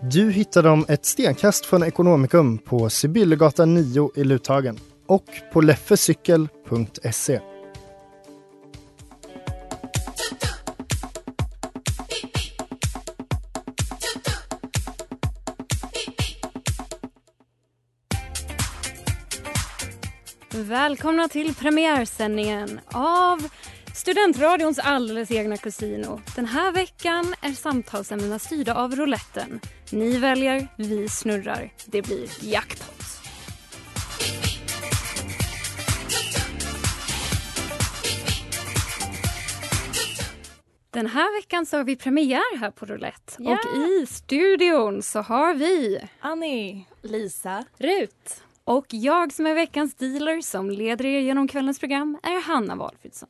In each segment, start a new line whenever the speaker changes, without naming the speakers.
Du hittar dem ett stenkast från Ekonomikum på Sibyllegatan 9 i Luthagen och på leffecykel.se.
Välkomna till premiärsändningen av Studentradions alldeles egna Casino. Den här veckan är samtalsämnena styrda av rouletten. Ni väljer, vi snurrar. Det blir jackpot. Den här veckan så har vi premiär här på Roulette.
Ja.
Och i studion så har vi
Annie, Lisa,
Rut. Och jag som är veckans dealer som leder er genom kvällens program är Hanna Walfridsson.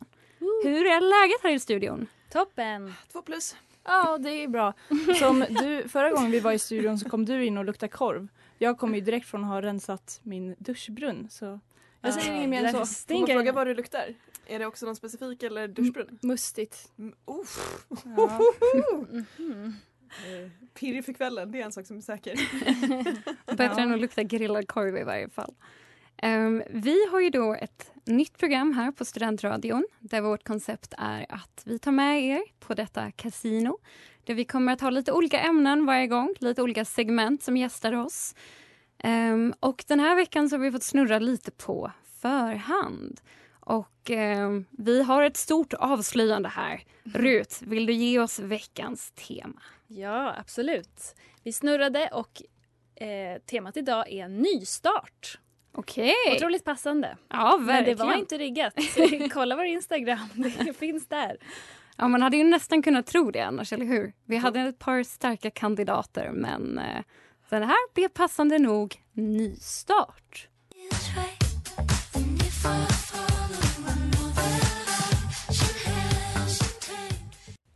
Hur är läget här i studion?
toppen!
Två plus.
Ja, det är bra. Som du, förra gången vi var i studion så kom du in och luktade korv. Jag kom ju direkt från att ha rensat min duschbrunn. Så jag säger inget mer än så.
Får man fråga vad du luktar? Är det också någon specifik eller duschbrunn?
Mustigt.
Mm, Uff.
Oh.
Ja.
Mm.
Eh, Pirrig för kvällen, det är en sak som är säker.
Bättre än att lukta grillad korv i varje fall. Ehm, vi har ju då ett nytt program här på Studentradion där vårt koncept är att vi tar med er på detta kasino där vi kommer att ha lite olika ämnen varje gång, lite olika segment som gästar oss. Ehm, och den här veckan så har vi fått snurra lite på förhand. Och ehm, vi har ett stort avslöjande här. Rut, vill du ge oss veckans tema?
Ja, absolut. Vi snurrade och eh, temat idag är nystart.
Okej.
Otroligt passande.
Ja, verkligen.
Men det var inte riggat. Kolla vår Instagram, det finns där.
Ja, man hade ju nästan kunnat tro det annars, eller hur? Vi hade ett par starka kandidater, men eh, den här blev passande nog nystart.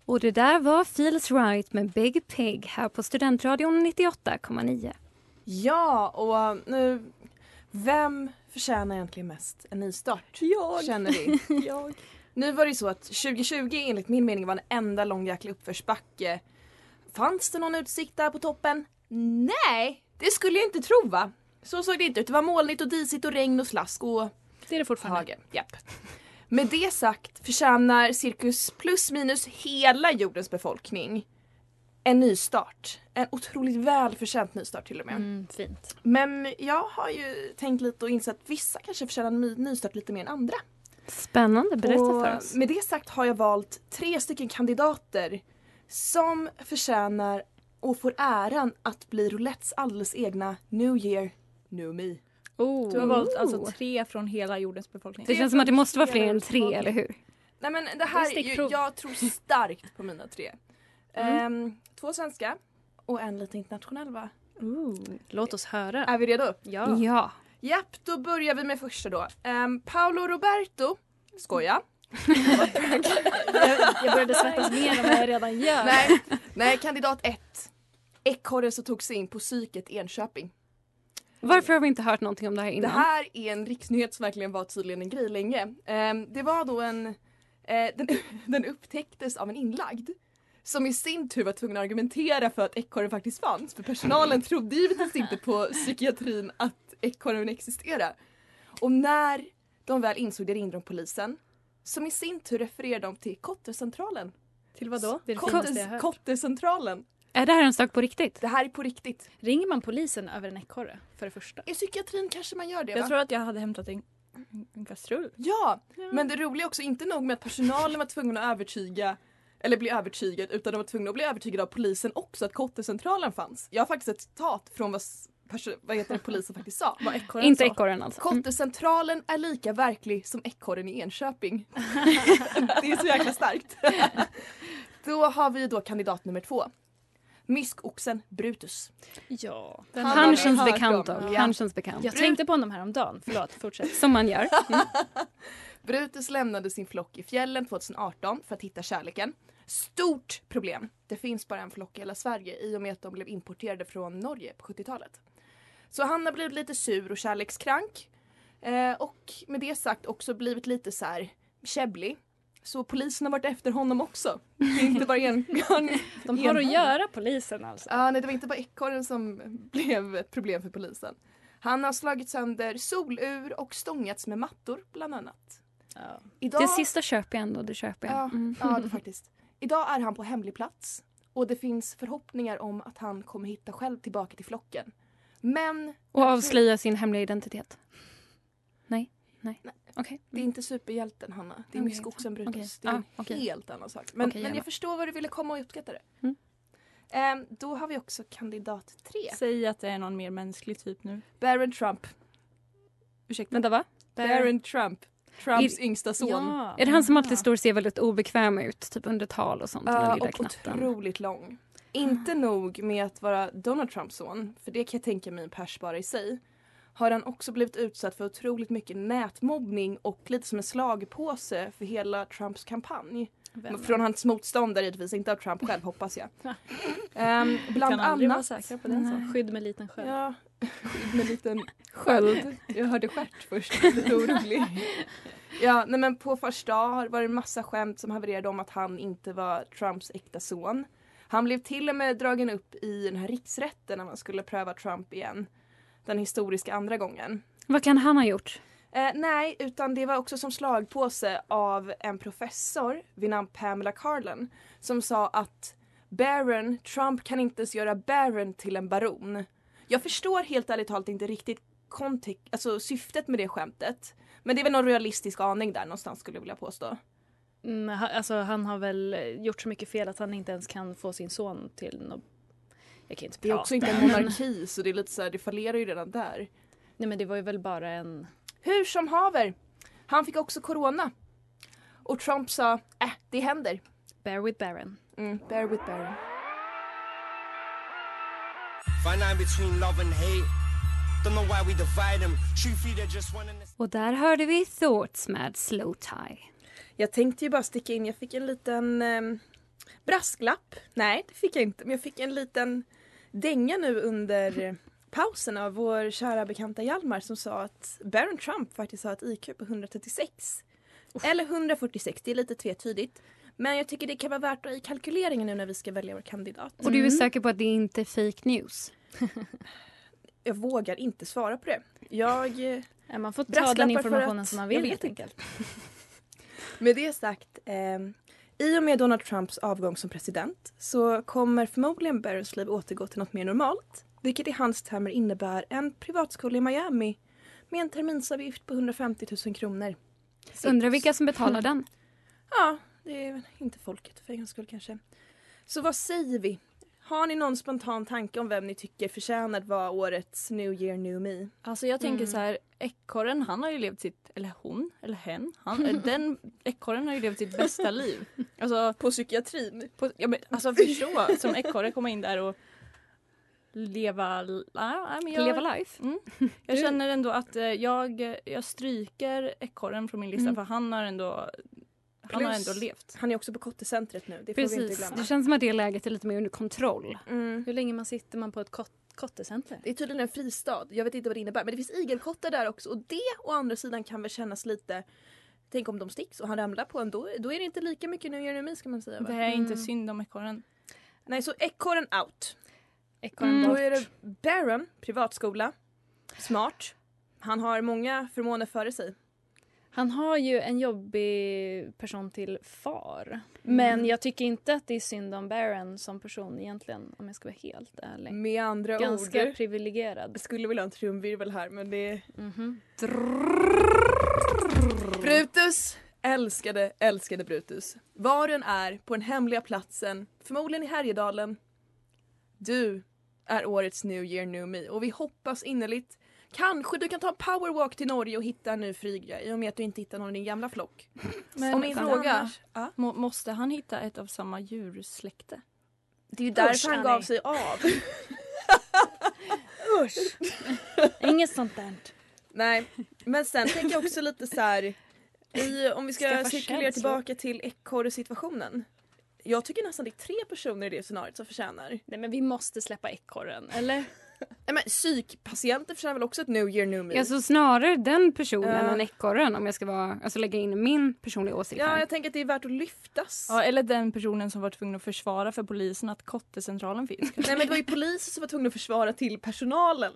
Och det där var Feels Right med Big Pig här på Studentradion 98,9.
Ja, och nu... Vem förtjänar egentligen mest en nystart? Jag! Känner vi.
Jag.
Nu var det ju så att 2020 enligt min mening var en enda lång jäkla uppförsbacke. Fanns det någon utsikt där på toppen? Nej, det skulle jag inte tro va. Så såg det inte ut. Det var molnigt och disigt och regn och slask och
Det är det fortfarande.
hagel. Japp. Med det sagt förtjänar cirkus plus minus hela jordens befolkning en nystart. En otroligt välförtjänt nystart till och med.
Mm, fint.
Men jag har ju tänkt lite och insett att vissa kanske förtjänar en ny- nystart lite mer än andra.
Spännande, berätta för
Och
oss.
Med det sagt har jag valt tre stycken kandidater som förtjänar och får äran att bli Roulettes alldeles egna New Year, New Me.
Oh.
Du har valt alltså tre från hela jordens befolkning.
Det känns som att det måste vara fler än tre, eller hur?
Nej men det
Det är
här, är ju,
stickprov. Mm.
jag tror starkt på mina tre. Ehm, två svenska och en lite internationell va?
Låt oss höra.
Är vi redo?
Ja.
Ja.
Japp, då börjar vi med första då. Ehm, Paolo Roberto, skoja.
Jag började svettas mer än vad jag redan gör.
Nej, nej kandidat ett. Ekorren som tog sig in på psyket Enköping.
Varför har vi inte hört någonting om det här innan?
Det här är en riksnyhet som verkligen var tydligen en grej länge. Ehm, det var då en... eh, den, den upptäcktes av en inlagd som i sin tur var tvungen att argumentera för att ekorren faktiskt fanns. För personalen trodde givetvis inte på psykiatrin att ekorren existerade. Och när de väl insåg det ringde de polisen som i sin tur refererade dem till Kottercentralen.
Till vad då?
Det är det finaste jag
Kottes,
hört.
Kottecentralen.
Är det här en sak på riktigt?
Det här är på riktigt.
Ringer man polisen över en ekorre för det första?
I psykiatrin kanske man gör det
Jag
va?
tror att jag hade hämtat en, en kastrull.
Ja, men det roliga är också inte nog med att personalen var tvungen att övertyga eller bli övertygad utan de var tvungna att bli övertygade av polisen också att kottecentralen fanns. Jag har faktiskt ett citat från vad, s- perso- vad heter det, polisen faktiskt sa.
Vad ekorren
Inte
sa.
ekorren alltså.
Kottecentralen är lika verklig som ekorren i Enköping. det är så jäkla starkt. då har vi då kandidat nummer två. Myskoxen Brutus.
Ja.
Den har
Han
vi
känns
hört
bekant
om.
dock.
Ja.
Han känns bekant.
Jag tänkte på honom häromdagen. Förlåt, fortsätt.
Som man gör.
Brutus lämnade sin flock i fjällen 2018 för att hitta kärleken. Stort problem! Det finns bara en flock i hela Sverige i och med att de blev importerade från Norge på 70-talet. Så han har blivit lite sur och kärlekskrank. Eh, och med det sagt också blivit lite så här käbblig. Så polisen har varit efter honom också. Det är inte bara en...
De har att göra polisen alltså.
Ja, nej, det var inte bara ekorren som blev ett problem för polisen. Han har slagit sönder solur och stångats med mattor bland annat.
Ja.
Idag...
Det sista köper jag ändå, det köper jag.
Ja,
Mm.
ja det faktiskt. Idag är han på hemlig plats och det finns förhoppningar om att han kommer hitta själv tillbaka till flocken. Men
Och avslöja sin hemliga identitet. Nej, nej.
Nej.
Okej.
det är inte superhjälten Hanna. Det är
Mm. Okej.
myskoxen Brutus.
Okej.
Det är
Ah,
en
okej.
helt annan sak. Men, men
Okej, gärna.
jag förstår vad du ville komma och uppskatta det.
Mm.
Ehm, då har vi också kandidat tre.
Säg att det är någon mer mänsklig typ nu.
Baron Trump. Ursäkta.
Vänta, va?
Baron Trump. Trumps yngsta son.
Ja.
Är det han som alltid står och ser väldigt obekväm ut, typ under tal och sånt? med
Ja,
den lilla
och
knatten.
otroligt lång. Inte nog med att vara Donald Trumps son, för det kan jag tänka mig en pers bara i sig, har han också blivit utsatt för otroligt mycket nätmobbning och lite som en slagpåse för hela Trumps kampanj.
Vänner.
Från hans motståndare givetvis, inte av Trump själv hoppas jag. Ehm, bland
kan aldrig
annat...
vara säkra på den saken.
Skydd med liten sköld.
Ja, med en liten sköld. Jag hörde stjärt först, lite orolig. Ja, nej men på första dag har det varit en massa skämt som havererade om att han inte var Trumps äkta son. Han blev till och med dragen upp i den här riksrätten när man skulle pröva Trump igen. Den historiska andra gången.
Vad kan han ha gjort?
Eh, nej, utan det var också som slagpåse av en professor vid namn Pamela Carlin som sa att Baron, Trump kan inte ens göra Baron till en baron. Jag förstår helt ärligt talat inte riktigt kontek- alltså, syftet med det skämtet. Men det är väl någon realistisk aning där någonstans skulle jag vilja påstå.
Mm, ha- alltså, han har väl gjort så mycket fel att han inte ens kan få sin son till något... Jag kan inte
Det är
prata.
också inte en monarki så det är lite så här, det fallerar ju redan där.
Nej men det var ju väl bara en...
Hur som haver, han fick också corona. Och Trump sa, äh, det händer.
Bear with Baron.
Mm, bear with Baron.
Och där hörde vi Thoughts med Slow Tie.
Jag tänkte ju bara sticka in, jag fick en liten ehm, brasklapp. Nej, det fick jag inte. Men jag fick en liten dänga nu under eh, pausen av vår kära bekanta Hjalmar som sa att Baron Trump faktiskt har ett IQ på 136. Eller 146, det är lite tvetydigt. Men jag tycker det kan vara värt att ha i kalkyleringen nu när vi ska välja vår kandidat.
Och du är säker på att det inte är fake news?
Jag vågar inte svara på det. Jag eh,
Eh, Man får ta
Brasklappar
den
för
informationen
att-
som man
jag
vill
vet
helt
inte.
enkelt.
Med det sagt, ehm, i och med Donald Trumps avgång som president så kommer förmodligen Barons liv återgå till något mer normalt, vilket i hans termer innebär en privatskola i Miami med en terminsavgift på 150 000 kronor.
Undrar vilka som betalar den?
Ja, det är väl inte folket för en gångs skull kanske. Så vad säger vi? Har ni någon spontan tanke om vem ni tycker förtjänar att vara årets New Year New Me?
Alltså jag tänker så här, ekorren han har ju levt sitt, eller hon, eller hen, han, eh, den ekorren har ju levt sitt bästa liv. Alltså,
På psykiatrin?
på, ja, men, alltså förstå som ekorre komma in där och leva... l- ah, nej, men jag,
Leva life?
jag
Du-
känner ändå att eh, jag, jag stryker ekorren från min lista för han har ändå, han har
Plus-
ändå levt.
Han är också på kottecentret nu, det får vi inte
Precis.
glömma.
Det känns som att det läget är lite mer under kontroll.
Mm.
Hur länge man sitter man på ett kot- kottecenter?
Det är tydligen en fristad. Jag vet inte vad det innebär. Men det finns igelkottar där också. Och det å andra sidan kan väl kännas lite... Tänk om de sticks och han ramlar på en. Då, då är det inte lika mycket nu gör nu ska man säga.
Det
Va?
är inte synd om ekorren.
Nej, så ekorren out.
Ekorren
Mm.
Då
bort.
är det Baron, privatskola. Smart. Han har många förmåner före sig.
Han har ju en jobbig person till far.
Mm.
Mm.
Men jag tycker inte att det är synd om Baron som person egentligen om jag ska vara helt ärlig.
Mm, Med andra
Ganska
ord.
privilegierad.
Jag skulle vilja ha en trumvirvel här men det...
Mhm.
Brutus! Älskade, älskade Brutus. Var du än är på den hemliga platsen, förmodligen i Härjedalen. Du är årets New Year New Me och vi hoppas innerligt Kanske du kan ta en powerwalk till Norge och hitta en ny flyga i och med att du inte hittar någon i din gamla flock.
Men
och min fråga,
annars, må, måste han hitta ett av samma djursläkte?
det är ju
Usch,
därför han
Annie.
gav sig av.
Usch! Inget sånt där.
Nej, men sen tänker jag också lite så här i, om vi ska
Skaffa
cirkulera
känslor.
tillbaka till ekorrsituationen. Jag tycker nästan det är tre personer i det scenariot som förtjänar.
Nej men vi måste släppa ekorren, eller?
Nej men psykpatienter förtjänar väl också ett new year new me?
Alltså snarare den personen
Ja.
än ekorren om jag ska vara, alltså lägga in min personliga åsikt
ja,
här.
jag tänker att det är värt att lyftas.
Ja, eller den personen som var tvungen att försvara för polisen att kottecentralen finns.
Nej men det var ju polisen som var tvungna att försvara till personalen.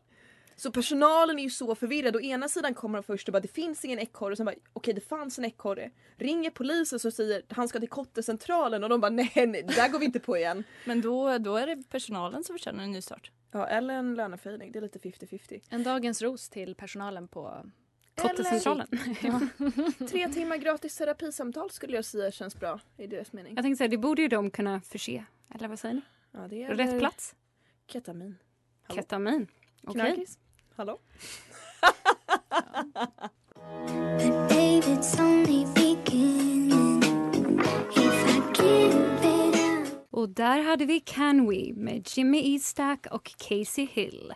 Så personalen är ju så förvirrad. Å ena sidan kommer de först och bara det finns ingen ekorre och sen bara okej det fanns en ekorre. Ringer polisen som säger han ska till Kottecentralen och de bara nej, nej där går vi inte på igen.
Men då, då är det personalen som förtjänar en nystart.
Ja eller en löneförhöjning, det är lite 50-50.
En dagens ros till personalen på
Eller-
Kottecentralen.
Tre timmar gratis terapisamtal skulle jag säga känns bra i deras mening.
Jag tänkte säga, det borde ju de kunna förse. Eller vad säger ni?
Ja, det är
Rätt plats?
Ketamin. Hallå.
Ketamin. Okej.
Knarkis. Hallå?
Och där hade vi Can We med Jimmy Eastack och Casey Hill.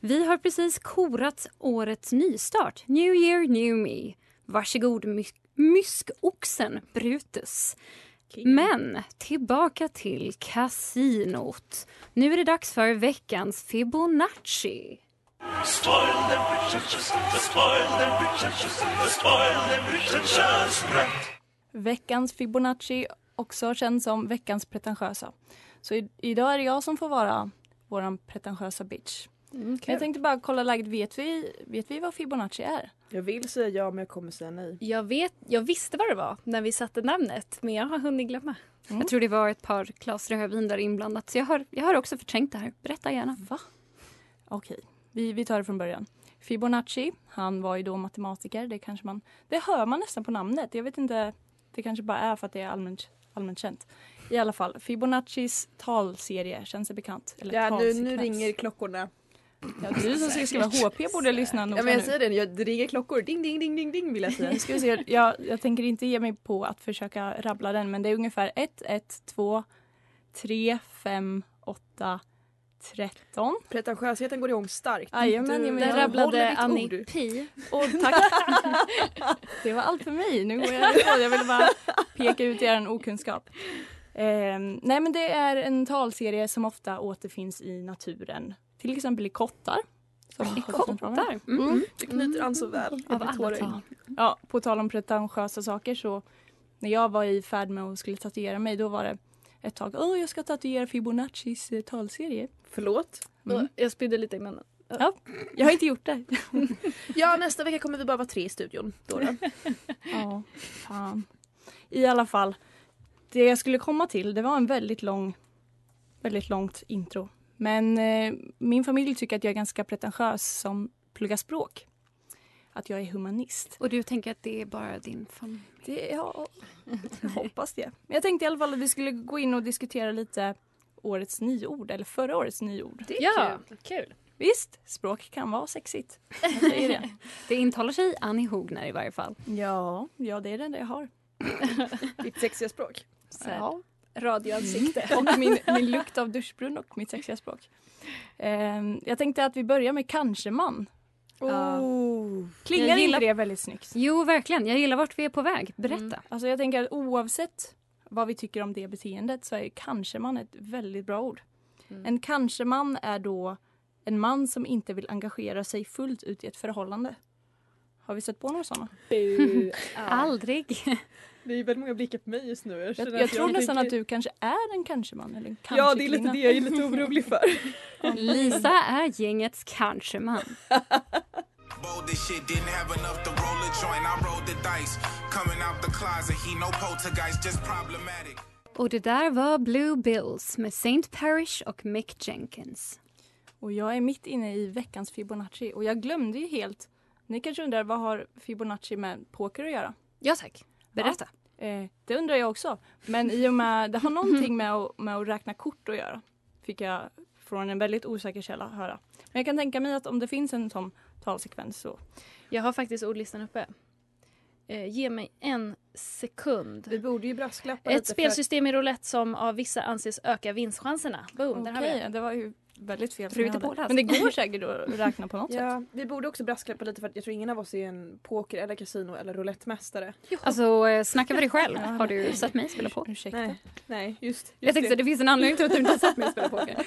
Vi har precis korat årets nystart, New Year New Me. Varsågod my- myskoxen Brutus. Men tillbaka till kasinot. Nu är det dags för veckans Fibonacci.
Veckans Fibonacci, också känd som veckans pretentiösa. Så i, idag är det jag som får vara våran pretentiösa bitch.
Mm,
Jag
kul.
tänkte bara kolla läget. Vet vi, vet vi vad Fibonacci är?
Jag vill säga ja men jag kommer säga nej.
Jag, vet, jag visste vad det var när vi satte namnet, men jag har hunnit glömma.
Mm.
Jag tror det var ett par glas rödvin där inblandat, så jag har, jag har också förträngt det här. Berätta gärna.
Va? Okej, vi, vi tar det från början. Fibonacci, han var ju då matematiker. Det kanske man... Det hör man nästan på namnet. Jag vet inte. Det kanske bara är för att det är allmänt, allmänt känt. I alla fall, Fibonaccis talserie. Känns det bekant? Eller
Ja, nu, nu
talsekvens.
ringer klockorna.
Ja, du som ska skriva HP borde lyssna noga
Ja, men jag
nu.
säger det, jag, det ringer klockor. Ding ding ding ding ding vill jag säga.
Nu ska vi se. Jag, jag tänker inte ge mig på att försöka rabbla den men det är ungefär 1, 1, 2, 3, 5, 8, 13.
Pretentiösheten går igång starkt.
Jajamän,
Du-
jag
Där
jag
rabblade
håller ditt
Annie
ord.
Pi.
Och tack. Det var allt för mig. Nu går jag ifrån. Jag ville bara peka ut er en okunskap. Ehm, nej men det är en talserie som ofta återfinns i naturen. Till exempel i kottar. Som
Där. Mm.
Du knyter an så väl.
Av
Jag blir
alla
tårögd.
tal.
Ja, på tal om pretentiösa saker så när jag var i färd med att skulle tatuera mig då var det ett tag, åh jag ska tatuera Fibonaccis eh, talserie.
Förlåt.
Mm.
Jag spydde lite i munnen.
Jag har inte gjort det.
Ja nästa vecka kommer vi bara vara tre i studion. Då då.
Ja, fan. I alla fall, det jag skulle komma till det var en väldigt lång, väldigt långt intro. Men eh, min familj tycker att jag är ganska pretentiös som pluggar språk. Att jag är humanist.
Och du tänker att det är bara din familj?
Det, ja, jag hoppas det. Men jag tänkte i alla fall att vi skulle gå in och diskutera lite årets nyord, eller förra årets nyord.
Ja, kul.
Visst, språk kan vara sexigt. Jag säger det.
Det intalar sig Annie Hogner i varje fall.
ja, ja, det är det enda jag har.
Ditt sexiga språk.
Ja.
Radioansikte.
Mm. Och min, min lukt av duschbrunn och mitt sexiga språk. Ehm, jag tänkte att vi börjar med kanske man. Ja.
Oh,
Klingar
Jag
inte
gillar-
det väldigt snyggt?
Jo, verkligen. Jag gillar vart vi är på väg. Berätta.
Alltså jag tänker att oavsett vad vi tycker om det beteendet så är ju kanske man ett väldigt bra ord.
Mm.
En kanske man är då en man som inte vill engagera sig fullt ut i ett förhållande. Har vi sett på några sådana?
Bu.
Aldrig.
Det är väldigt många blickar på mig just nu. Jag,
Jag,
känner
jag
att
tror nästan
tänker-
att du kanske är en kanske man eller en kanske
Ja det är lite
kvinna.
det jag är lite orolig för.
Lisa är gängets kanske man.
bold this shit. Didn't have enough to roll a joint. I rolled the dice. Coming out the closet, he no poltergeist, just problematic.
Och det där var Blue Bills med Saint Parish och Mick Jenkins.
Och jag är mitt inne i veckans Fibonacci och jag glömde ju helt. Ni kanske undrar vad har Fibonacci med poker att göra?
Ja tack, berätta.
Ja, eh, det undrar jag också. Men i och med, det har någonting med att, med att räkna kort att göra. Fick jag från en väldigt osäker källa höra. Men jag kan tänka mig att om det finns en sån talsekvens så.
Jag har faktiskt ordlistan uppe. Eh, ge mig en sekund.
Vi borde ju brasklappa
Ett
lite
spelsystem i roulette som av vissa anses öka vinstchanserna. Boom, där har vi
Okej,
det.
det var ju väldigt fel.
Tror
som
vi
jag
inte
hade.
på det,
Men det
alltså.
går säkert att räkna på något
för,
sätt.
ja, Vi borde också brasklappa lite för att jag tror ingen av oss är en poker eller kasino eller roulettemästare.
Alltså eh, snacka för dig själv. Har du sett mig spela på?
Ursäkta.
Nej, nej just, just
Jag tänkte det finns en anledning till att du inte har sett mig spela poker.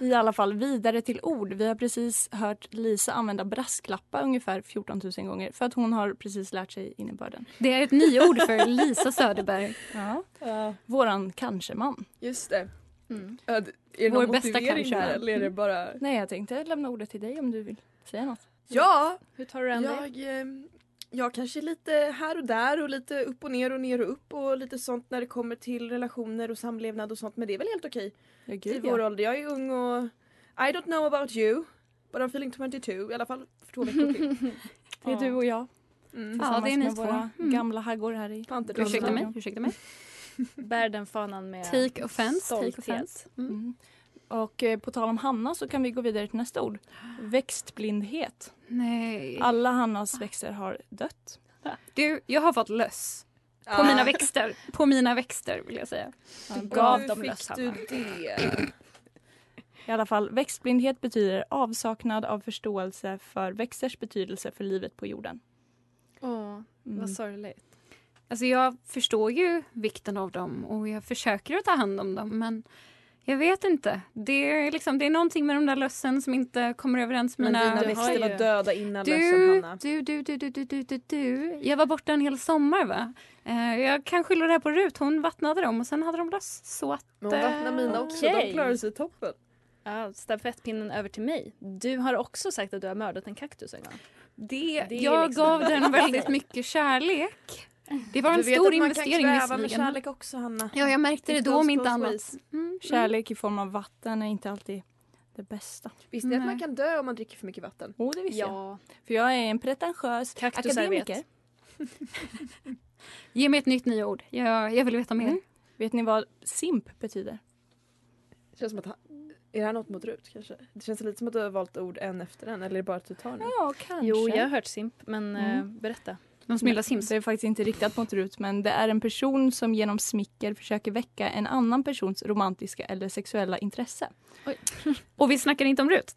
I alla fall vidare till ord. Vi har precis hört Lisa använda brasklappa ungefär 14 000 gånger för att hon har precis lärt sig innebörden.
Det är ett nyord för Lisa Söderberg.
Ja.
Ja,
Våran kanske-man.
just det.
Mm.
Ja, d- Är det
Vår
någon
bästa
motivering
kanske, Mm.
där
va?
eller är det bara...
Nej, jag tänkte lämna ordet till dig om du vill säga något.
Ja,
Hur tar du an det?
jag, eh, jag kanske är lite här och där och lite upp och ner och ner och upp och lite sånt när det kommer till relationer och samlevnad och sånt men det är väl helt okej.
Ja,
i
gud,
vår
ja.
ålder. Jag är ung och I don't know about you. But I'm feeling 22 i alla fall för två veckor till.
Det är du och jag
Mm.
tillsammans
det är ni
med
två.
våra
Mm.
gamla haggor här i.
Pantertrollen.
Ursäkta mig, ursäkta mig.
Bär den fanan med
Take offense, take
stolthet.
offense.
Mm. Och eh, på tal om Hanna så kan vi gå vidare till nästa ord. Växtblindhet.
Nej.
Alla Hannas växter har dött.
Du, jag har fått löss. På
Ja.
mina växter. På mina växter vill jag säga.
Ja,
Du
bra.
gav
Hur
dem
fick
löss,
du
Hanna.
det?
I alla fall, växtblindhet betyder avsaknad av förståelse för växters betydelse för livet på jorden.
Åh,
Mm.
vad sorgligt.
Alltså jag förstår ju vikten av dem och jag försöker att ta hand om dem men jag vet inte. Det är, liksom, det är någonting med de där lössen som inte kommer överens
Men
med mina...
dina
du har
växter
ju-
var döda innan lösen
Du,
Hanna.
du, du, du, du, du, du, du, du. Jag var borta en hel sommar va? Eh, jag kan skylla det här på Rut. Hon vattnade dem och sen hade de löss. Så att...
Men hon vattnade mina också,
Okej.
de klarade sig toppen.
Ja, stafettpinnen över till mig. Du har också sagt att du har mördat en kaktus en gång.
Det,
Det är
jag
liksom-
gav den väldigt mycket kärlek. Det var en
Du vet
stor
att man
investering
kan kväva med
visserligen.
kärlek också Hanna.
Ja, jag märkte det
It
då
goes
om inte
both
annat.
ways.
Mm, mm.
Kärlek i form av vatten är inte alltid det bästa.
Visste ni att
Nej.
man kan dö om man dricker för mycket vatten?
Oh, det visste jag. För jag är en pretentiös
Kaktusar
akademiker.
vet.
Vet.
Ge mig ett nytt nyord. Jag, jag vill veta mer.
Mm. ni vad simp betyder?
Det känns som att han... Är det här något mot Rut kanske? Det känns lite som att du har valt ord en efter en eller är det bara att du tar nu?
Ja, kanske.
Jo, jag har hört simp, men eh,
Mm.
berätta.
De som gillar Sims.
Det är faktiskt inte riktat mot Rut, men det är en person som genom smicker försöker väcka en annan persons romantiska eller sexuella intresse.
Och vi snackar inte om Rut.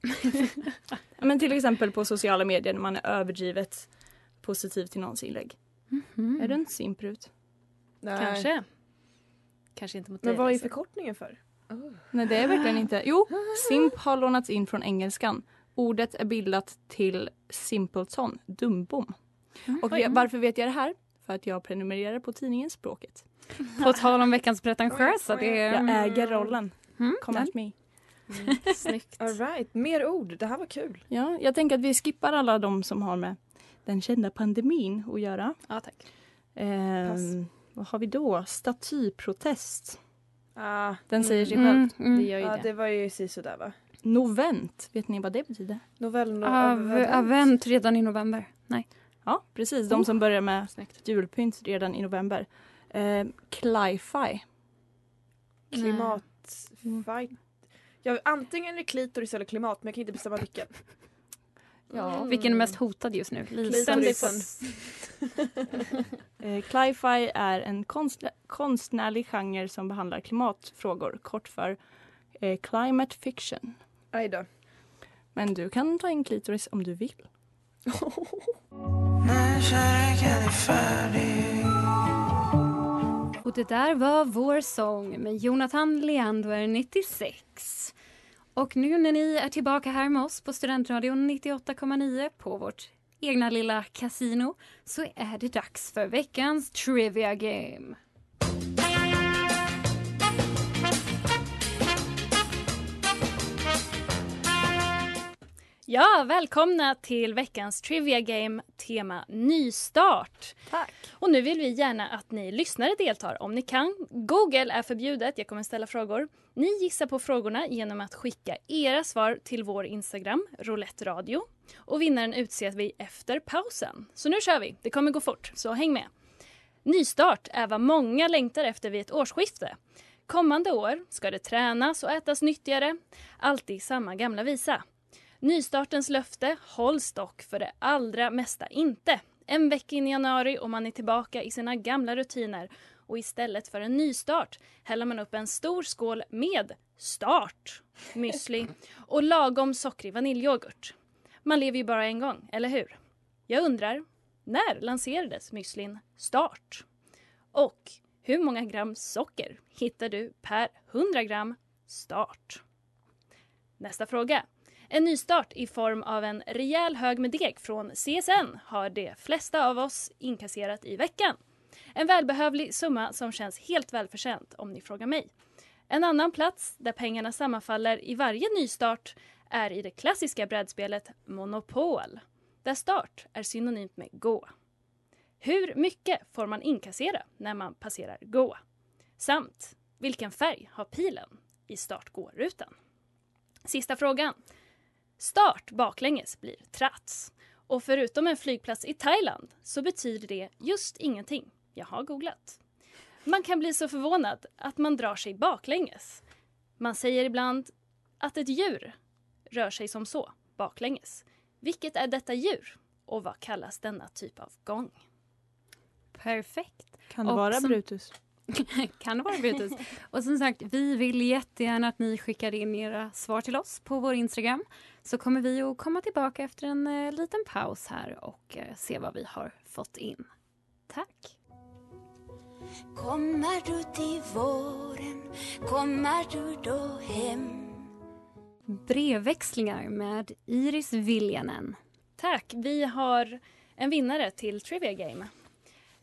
Ja, Men till exempel på sociala medier när man är överdrivet positiv till någons inlägg. Är du en simp, Rut?
Nej.
Kanske. Kanske inte mot
Men
dig.
vad är
alltså.
förkortningen för?
Nej, det är verkligen inte. Jo, simp har lånats in från engelskan. Ordet är bildat till simpleton, dumbom.
Mm.
Och
Oj.
jag, varför vet jag det här? För att jag prenumererar på tidningen Språket.
På tal om veckans pretentiösa. Det är...
Jag äger rollen.
Mm.
Come at me.
Mm, snyggt.
All right, mer ord. Det här var kul.
Ja, jag tänker att vi skippar alla de som har med den kända pandemin att göra.
Ja, tack.
Ehm,
Pass.
vad har vi då? Statyprotest.
Ah,
Den säger sig själv.
Mm,
Det
mm.
gör ju
ja,
det.
det var ju sisådär va?
Novent, vet ni vad det betyder?
Novellen
Av, avent redan i november. Nej.
Ja, precis.
Oh.
De som börjar med
Snyggt.
julpynt redan i november. Eh, Cli-fi.
Klimatfight. Ja, antingen är det klitoris eller klimat men jag kan inte bestämma vilken.
Mm.
Vilken är mest hotad just nu? Lisa.
Ständigt
Klitorisen.
Eh, Cli-fi är en konstnär, konstnärlig genre som behandlar klimatfrågor, kort för eh, climate fiction.
Aj då.
Men du kan ta in klitoris om du vill.
Och det där var Vår sång med Jonathan Leander 96. Och nu när ni är tillbaka här med oss på Studentradion 98,9 på vårt egna lilla kasino så är det dags för veckans Trivia Game.
Ja, välkomna till veckans Trivia Game, tema nystart.
Tack.
Och nu vill vi gärna att ni lyssnare deltar om ni kan. Google är förbjudet, jag kommer ställa frågor. Ni gissar på frågorna genom att skicka era svar till vår Instagram, Roulette Radio. Och vinnaren utser vi efter pausen. Så nu kör vi, det kommer gå fort, så häng med. Nystart är vad många längtar efter vid ett årsskifte. Kommande år ska det tränas och ätas nyttigare. Alltid samma gamla visa. Nystartens löfte hålls dock för det allra mesta inte. En vecka in i januari och man är tillbaka i sina gamla rutiner och istället för en nystart häller man upp en stor skål med start, müsli och lagom sockrig vaniljyoghurt. Man lever ju bara en gång, eller hur? Jag undrar, när lanserades müslin start? Och hur många gram socker hittar du per 100 gram start? Nästa fråga. En nystart i form av en rejäl hög med deg från CSN har de flesta av oss inkasserat i veckan. En välbehövlig summa som känns helt välförtjänt om ni frågar mig. En annan plats där pengarna sammanfaller i varje nystart är i det klassiska brädspelet Monopol, där start är synonymt med gå. Hur mycket får man inkassera när man passerar gå? Samt, vilken färg har pilen i start gå-rutan? Sista frågan. Start baklänges blir trats. Och förutom en flygplats i Thailand så betyder det just ingenting. Jag har googlat. Man kan bli så förvånad att man drar sig baklänges. Man säger ibland att ett djur rör sig som så, baklänges. Vilket är detta djur? Och vad kallas denna typ av gång?
Perfekt.
Kan det
Och
vara
som-
Brutus?
kan det vara Brutus? Och som sagt, vi vill jättegärna att ni skickar in era svar till oss på vår Instagram. Så kommer vi att komma tillbaka efter en eh, liten paus här och eh, se vad vi har fått in. Tack!
Kommer du till våren, kommer du då hem?
Brevväxlingar med Iris Viljanen.
Tack. Vi har en vinnare till Trivia Game.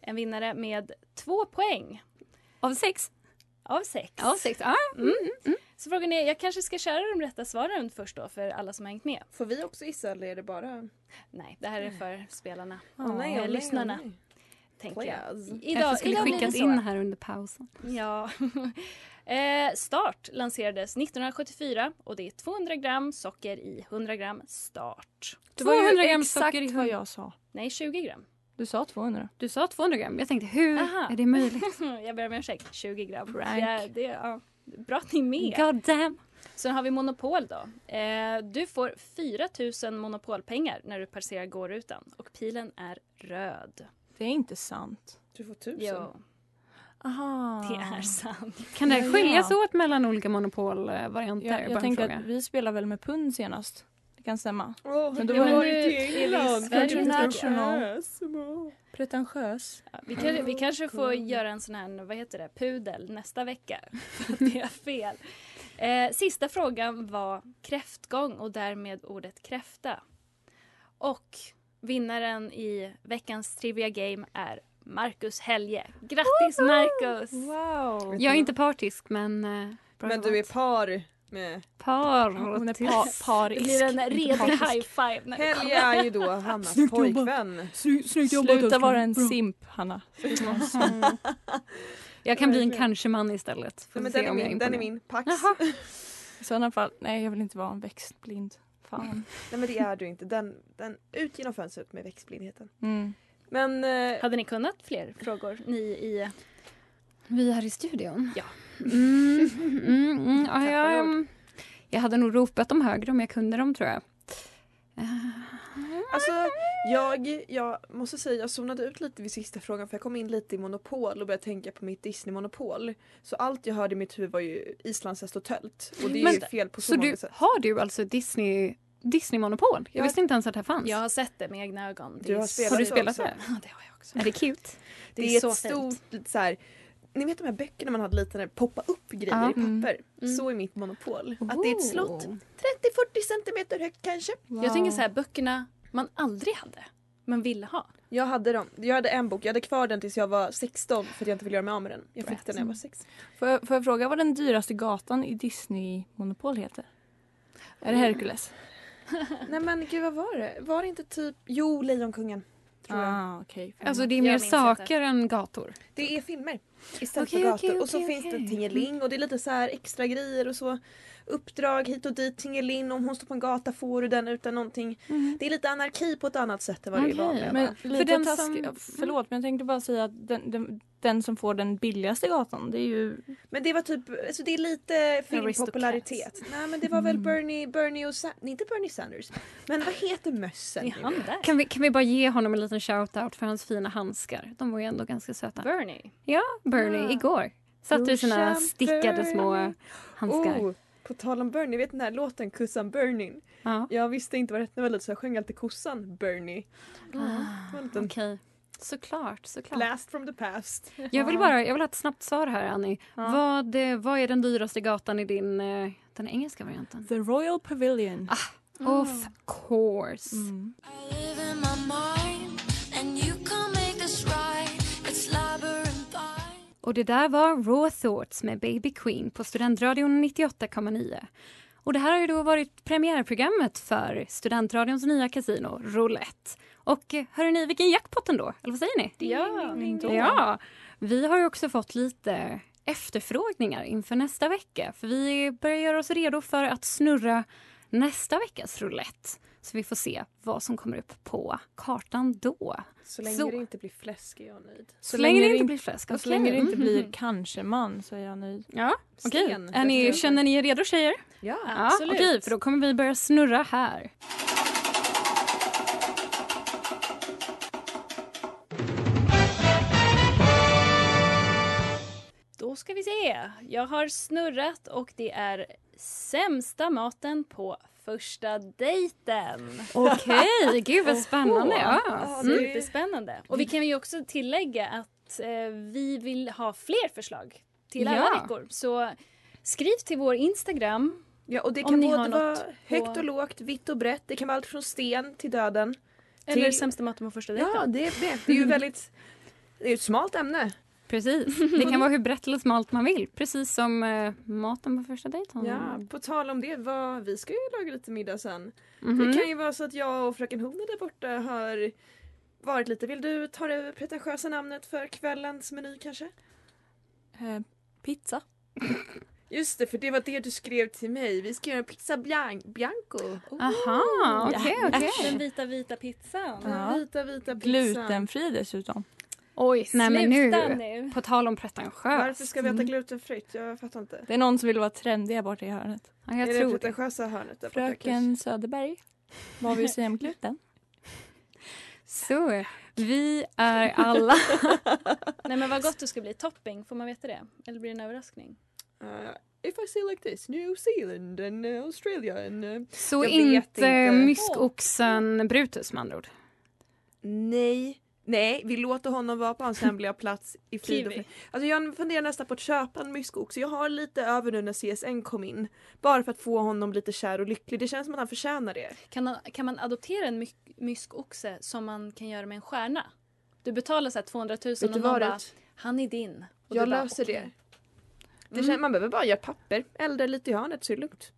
En vinnare med två poäng.
Av sex?
Av sex.
Av sex, ja.
Mm. Så frågan är, jag kanske ska köra de rätta svaren först då för alla som har hängt med.
Får vi också gissa eller är det bara?
Nej, det här är för spelarna.
Åh, nej,
Eh,
åh, nej,
lyssnarna.
åh, nej.
Tänker jag.
Please.
I-
Kanske skulle
blir
skickas
det
in här under pausen.
Ja. eh, start lanserades 1974 och det är 200 gram socker i 100 gram start.
Det var ju 200 gram
exakt
socker i
vad jag sa.
Nej, 20 gram.
Du sa 200.
Du sa 200 gram. Jag tänkte, hur
Aha.
är det möjligt?
jag ber om ursäkt. 20 gram.
Prank.
Ja, det, ja. Bra att ni är med.
God damn.
Sen har vi Monopol då. Eh, du får 4 000 Monopolpengar när du passerar gårutan och pilen är röd.
Det är inte sant.
Du får tusen.
Jo,
Aha.
det
Ah.
är sant.
Kan det
Ja,
skiljas
ja.
åt mellan olika monopolvarianter? Bara
Jag,
en
jag tänker
fråga.
att vi spelar väl med pund senast? Det kan stämma.
Åh,
Men då
jag
var
var ju
det-
till
är vi i
England.
Sverige?
International.
International.
Pretentiös.
Vi, kan, vi kanske får göra en sån här, vad heter det, pudel nästa vecka. För att det är fel. Eh, sista frågan var kräftgång och därmed ordet kräfta. Och vinnaren i veckans Trivia Game är Marcus Helge. Grattis Marcus!
Wow. Jag är inte partisk men... eh, bra
Men du är
jobbat.
par med...
par.
Hon är par,
Det
parisk.
blir en redig
partisk.
high five när du
Helge är ju då Hannas
Snyggt jobbat.
pojkvän.
Sluta vara en simp, Hanna.
Jag kan bli en kanske-man istället. Får
Nej, men
se
den är
om jag
min, den är
imponerar.
min. Pax.
I sådana fall, nej jag vill inte vara en växtblind. Fan.
Nej men det är du inte. Den, den ut genom fönstret med växtblindheten.
Mm.
Men eh,
Hade ni kunnat fler frågor? Ni i...
Vi här i studion?
Ja.
Mm, mm, mm, ja,
Tappade
jag,
ord.
mm, jag hade nog ropat dem högre om jag kunde dem, tror jag. Eh,
alltså jag, jag måste säga jag zonade ut lite vid sista frågan för jag kom in lite i Monopol och började tänka på mitt Disney-monopol. Så allt jag hörde i mitt huvud var ju islandshäst och tölt. Och det är
Men-
ju fel på så,
Så
många
du,
sätt.
har du alltså Disney, Disney-monopol? Jag
Ja.
visste inte ens att det här fanns.
Jag har sett det med egna ögon. Det
Du har
är
spelat
så-
har du
det
spelat
också.
det?
Ja, det har jag också.
Är det cute?
Det,
är
är,
så
ett
fint.
stort lite så här, ni vet de här böckerna man hade lite när det poppa upp grejer
Ja.
i papper.
Mm.
Så är mitt monopol. Att det är ett slott 30-40 centimeter högt kanske.
Jag tänker så här, böckerna man aldrig hade, men ville ha.
Jag hade dem. Jag hade en bok. Jag hade kvar den tills jag var 16 för att jag inte ville göra mig av med den. Jag fick den när jag var 16.
Får, jag, får jag fråga vad den dyraste gatan i Disney-monopol heter? Är det Hercules?
Nej men gud vad var det? Var det inte typ, jo Lejonkungen. Tror jag.
Ah, okej.
Alltså det är mer saker än gator.
Det är filmer istället
Okej,
för gator.
okej,
och så
okej,
finns
okej.
det Tingeling och det är lite så här extra grejer och så uppdrag hit och dit. Tingeling, om hon står på en gata får du den utan någonting.
Mm.
Det är lite anarki på ett annat sätt än vad det är i vanliga
Men
fall.
lite för den task... Förlåt men jag tänkte bara säga att den, den, den som får den billigaste gatan det är ju...
Men det var typ, alltså det är lite filmpopularitet.
Aristocrats.
Nej men det var
Mm.
väl Bernie, Bernie och Sa- nej, inte Bernie Sanders. Men vad heter mössen? nu?
Kan vi, kan vi bara ge honom en liten shout-out för hans fina handskar? De var ju ändå ganska söta.
Bernie.
Ja, Bernie
Ah.
igår. Satte i sina
Brorsan
stickade små
Bernie.
handskar.
Oh, på tal om Bernie, vet ni den här låten Kussan Bernie?
Ja.
Jag visste inte vad det hette när jag var liten så jag sjöng alltid kossan Bernie.
Ah, Okej. Såklart, såklart.
Blast from the past.
Jag vill bara jag vill ha ett snabbt svar här, Annie.
Ja.
Vad, eh, vad är den dyraste gatan i din, eh, den engelska varianten?
The Royal Pavilion. Mm.
Ah, Of course. Och det där var Raw Thoughts med Baby Queen på Studentradion 98,9. Och det här har ju då varit premiärprogrammet för Studentradions nya kasino, Roulette. Och eh, hörrni, vilken jackpot ändå, eller vad säger ni?
Ja.
Ja, vi har ju också fått lite efterfrågningar inför nästa vecka. För vi börjar göra oss redo för att snurra nästa veckas roulette. Så vi får se vad som kommer upp på kartan då.
Så länge
Så.
det inte blir fläsk är jag nöjd.
Så länge det inte blir fläsk,
Och så Alltså, länge det
okej.
inte
Mhm.
blir kanske man så är jag nöjd.
Ja, okej.
Sten.
Är ni, känner ni er redo tjejer?
Ja,
absolut.
Okej, för då kommer vi börja snurra här.
Då ska vi se. Jag har snurrat och det är sämsta maten på första dejten.
Okej, gud vad spännande. Ja.
Ja,
Mm.
Superspännande. Och vi kan ju också tillägga att eh, vi vill ha fler förslag till alla
Ja.
veckor. Så skriv till vår Instagram.
Ja, och det
om
kan
ni
både
har
vara
något
högt
på-
och lågt, vitt och brett. Det kan vara allt från sten till döden.
Eller
till...
sämsta maten på första dejten.
Ja, det är det. Det är ju väldigt... Det är ju ett smalt ämne.
Precis. Det kan vara hur brett eller smalt man vill. Precis som eh, maten på första dejten.
Ja, på tal om det, vad, vi ska ju laga lite middag sen.
Mhm.
Det kan ju vara så att jag och fröken Hona där borta har varit lite... Vill du ta det pretentiösa namnet för kvällens meny kanske?
Eh, pizza.
Just det, för det var det du skrev till mig. Vi ska göra en pizza bian- bianco.
Aha, okej, okej.
Den vita vita pizzan.
Den
Mm.
vita vita pizzan.
Glutenfri dessutom.
Oj,
Nej, men
sluta
nu,
nu.
På tal om pretentiöst.
Varför ska vi äta glutenfritt? Jag fattar inte.
Det är någon som vill vara trendig här borta i hörnet.
Ja, jag
är det
tror det.
pretentiösa hörnet där borta, kanske?
Fröken Söderberg, vad vill du säga om gluten?
Så, vi är alla...
Nej men vad gott det ska bli. Topping, får man veta det? Eller blir det en överraskning?
Uh, if I say like this, New Zealand and uh, Australia and... Uh,
Så
Jag vet
inte
inte.
myskoxen Brutus med andra ord.
nej. Nej, vi låter honom vara på hans hemliga plats i frid och
Kiwi.
frid. Alltså jag funderar nästan på att köpa en myskoxe. Jag har lite över nu när CSN kom in. Bara för att få honom lite kär och lycklig. Det känns som att han förtjänar det.
Kan man, kan man adoptera en mysk, myskoxe som man kan göra med en stjärna? Du betalar så här 200 000
Vet
och
du
någon
vad,
bara
Rut?
han är din. Och
jag
du bara,
löser
okej.
det. det känns, man behöver bara göra papper. Elda lite i hörnet så är det lugnt.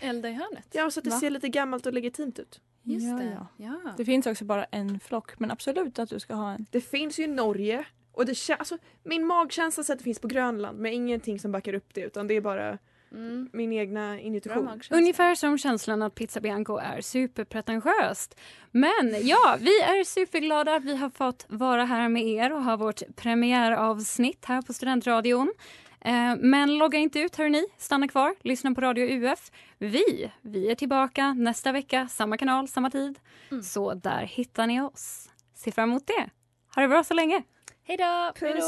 Elda i hörnet.
Ja, så att det
Va?
ser lite gammalt och legitimt ut.
Just
Ja,
det.
ja.
Ja.
Det finns också bara en flock men absolut att du ska ha en.
Det finns ju i Norge. Och det kän- alltså, min magkänsla säger att det finns på Grönland men ingenting som backar upp det utan det är bara
Mm.
min egna
Bra
intuition.
magkänsla.
Ungefär som känslan att pizza bianco är superpretentiöst. Men ja, vi är superglada att vi har fått vara här med er och ha vårt premiäravsnitt här på Studentradion. Eh, Men logga inte ut hörni, stanna kvar, lyssna på Radio UF. Vi, vi är tillbaka nästa vecka, samma kanal, samma tid. Så där hittar ni oss. Se fram emot det. Ha det bra så länge.
Hej då!
Puss.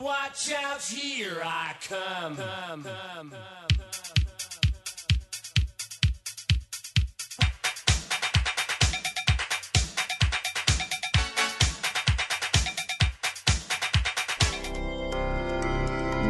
Watch out, here I come.